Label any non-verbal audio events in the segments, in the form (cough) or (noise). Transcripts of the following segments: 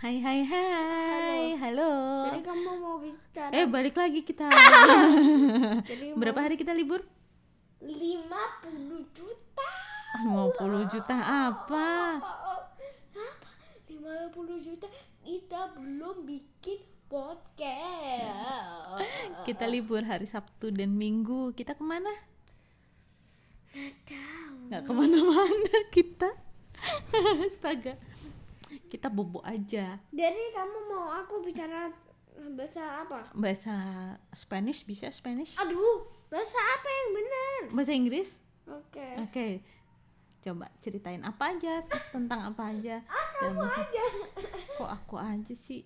Hai hai hai. Halo. Jadi kamu mau bicara Eh, balik lagi kita. Jadi Berapa hari kita libur? 50 juta 50 Ah, juta apa? Apa? 50 juta kita belum bikin podcast Kita libur hari Sabtu dan Minggu. Kita kemana? Nggak tahu Nggak kemana-mana (laughs) kita. Astaga. Kita bobo aja. Jadi kamu mau aku bicara bahasa apa? Bahasa Spanish bisa Spanish? Aduh, bahasa apa yang benar? Eh. Bahasa Inggris? Oke Oke. Coba ceritain apa aja tentang apa aja. Dan bahasa- aja kok aku aja sih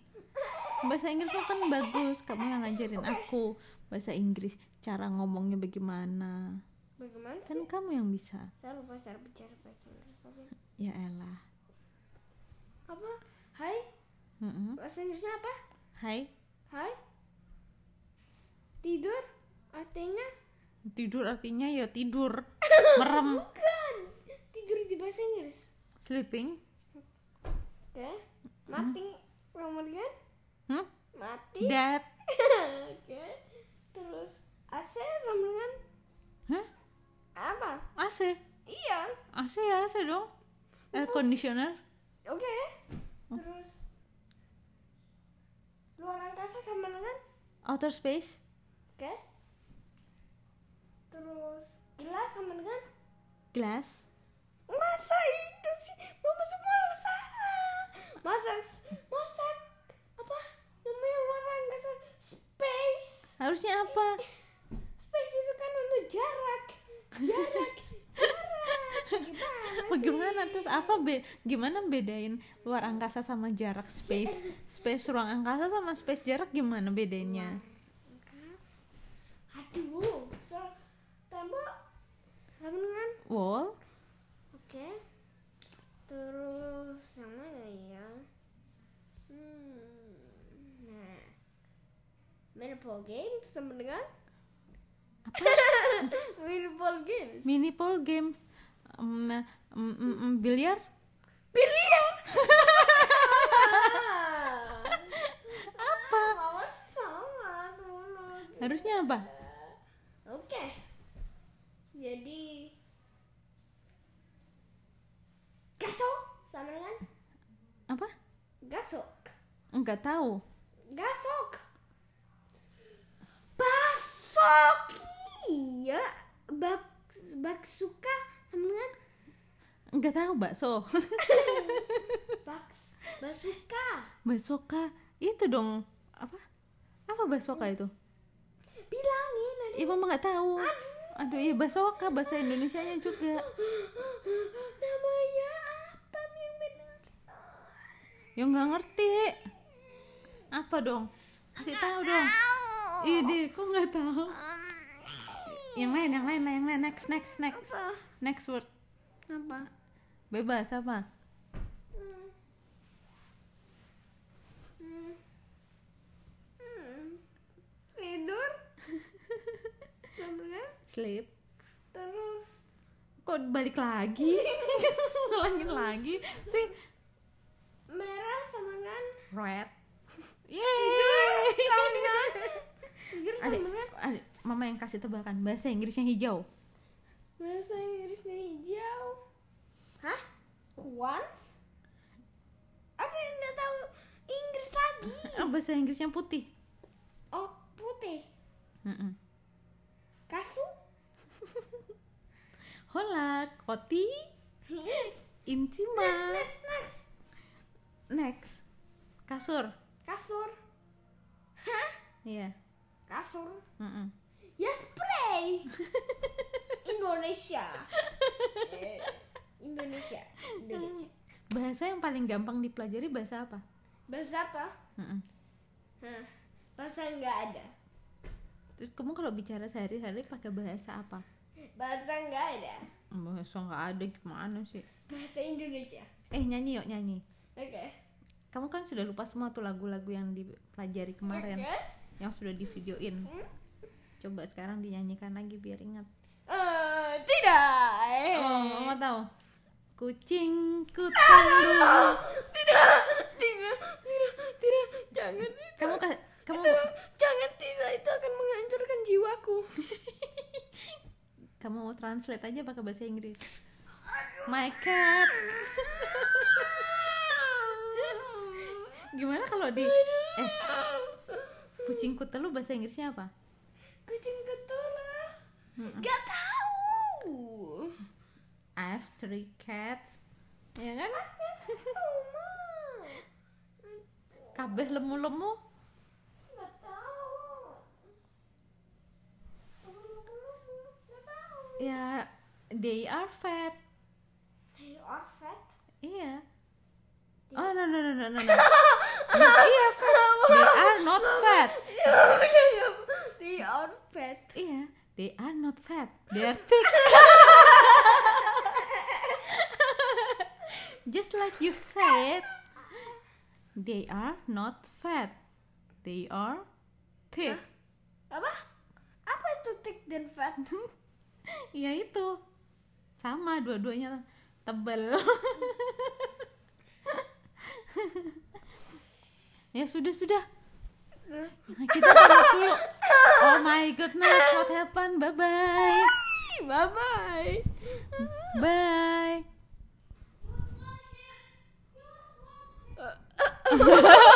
bahasa Inggris lo kan bagus kamu yang ngajarin aku bahasa Inggris cara ngomongnya bagaimana Bagaimana sih? kan kamu yang bisa Saya lupa cara bicara bahasa Inggris aja ya elah Apa? Hai? Mm-mm. Bahasa Inggrisnya apa? Hai Hai? Tidur? Artinya? tidur artinya ya tidur merem Bukan! Tidur di bahasa Inggris sleeping Oke Mati Kemudian hmm? Mati dead (laughs) Oke Terus AC kemudian Hah? Apa? AC Iya AC ya AC dong air conditioner Oke Terus Luar angkasa sama dengan outer space Oke Terus Gelas sama dengan glass masa itu sih mama semua salah masa masa apa namanya luar angkasa space harusnya apa space itu kan untuk jarak jarak jarak gimana Bagaimana terus apa be- gimana bedain luar angkasa sama jarak space space ruang angkasa sama space jarak gimana bedanya aduh so, tembok sama dengan wall Oke. Terus yang mana ya? Hmm. Nah. Monopoly games sama dengan (laughs) Monopoly games. mini pool games em, nah, em, em, em, biliar Biliar. apa Mama sama dulu. harusnya apa Oke. Jadi gasok sama dengan apa gasok. nggak tahu Gasok. Basok. Iya. Bak bak suka sama dengan nggak tahu bakso (laughs) baks basuka. basoka itu dong apa apa basoka itu Bilangin nanti. Ih mama nggak tahu aduh iya basoka bahasa Indonesianya juga Namanya apa yang benar? ya nggak ngerti apa dong kasih tahu dong Tahu. Ide, kok nggak tahu? Yang lain, yang lain, yang lain. Next, next, next, Apa? next word. Apa? Bebas apa? Hmm. Hmm. Hmm. Tidur. Sama dengan Sleep. terus Kok balik lagi? (laughs) Ngulangin lagi sih. merah sama dengan Red. Yeay. Inggris sama Adik, dengan adik, mama yang kasih tebakan bahasa Inggrisnya hijau. Bahasa Inggrisnya hijau. Hah? Kuans? Aku nggak tahu Inggris lagi. Ah, bahasa Inggrisnya putih. (laughs) Oh, putih. Mm-mm. Kasu? (laughs) Hola, koti, intima. Next, next. Next. Kasur. Kasur. Hah? Iya. Kasur. Mm-mm. Ya spray. (laughs) Indonesia. Hmm. Eh, Indonesia. Indonesia. Bahasa yang paling gampang dipelajari bahasa apa? Bahasa apa? Mm-mm. Hah. Bahasa nggak ada. Terus kamu kalau bicara sehari-hari pakai bahasa apa? Bahasa nggak ada. Bahasa nggak ada gimana sih? Bahasa Indonesia. Eh nyanyi yuk nyanyi. Oke. Kamu kan sudah lupa semua tuh lagu-lagu yang dipelajari kemarin, Oke. yang sudah divideoin. Coba sekarang dinyanyikan lagi biar ingat. Eh, tidak. Eh. Oh, mama tahu. Kucingku tunduk Tidak, tidak, translate aja pakai bahasa Inggris my cat gimana kalau di eh kucingku telu bahasa Inggrisnya apa Kucing ketulung. Gak tahu. I have three cats ya kan Ah, Tahu mah. kabeh lemu-lemu Gak tahu. Gak tahu. ya they are fat They are fat. iya oh no no no no no, no. E iya fat they are not fat Iya, They are fat. Iya, they are not fat, they are thick. (laughs) Just like you said, they are not fat, they are thick. Apa? Apa itu thick dan fat? ya itu, sama dua-duanya tebel. (laughs) ya sudah sudah. Kita pamit dulu. Oh my goodness, what happened? Bye bye. Bye bye. Bye.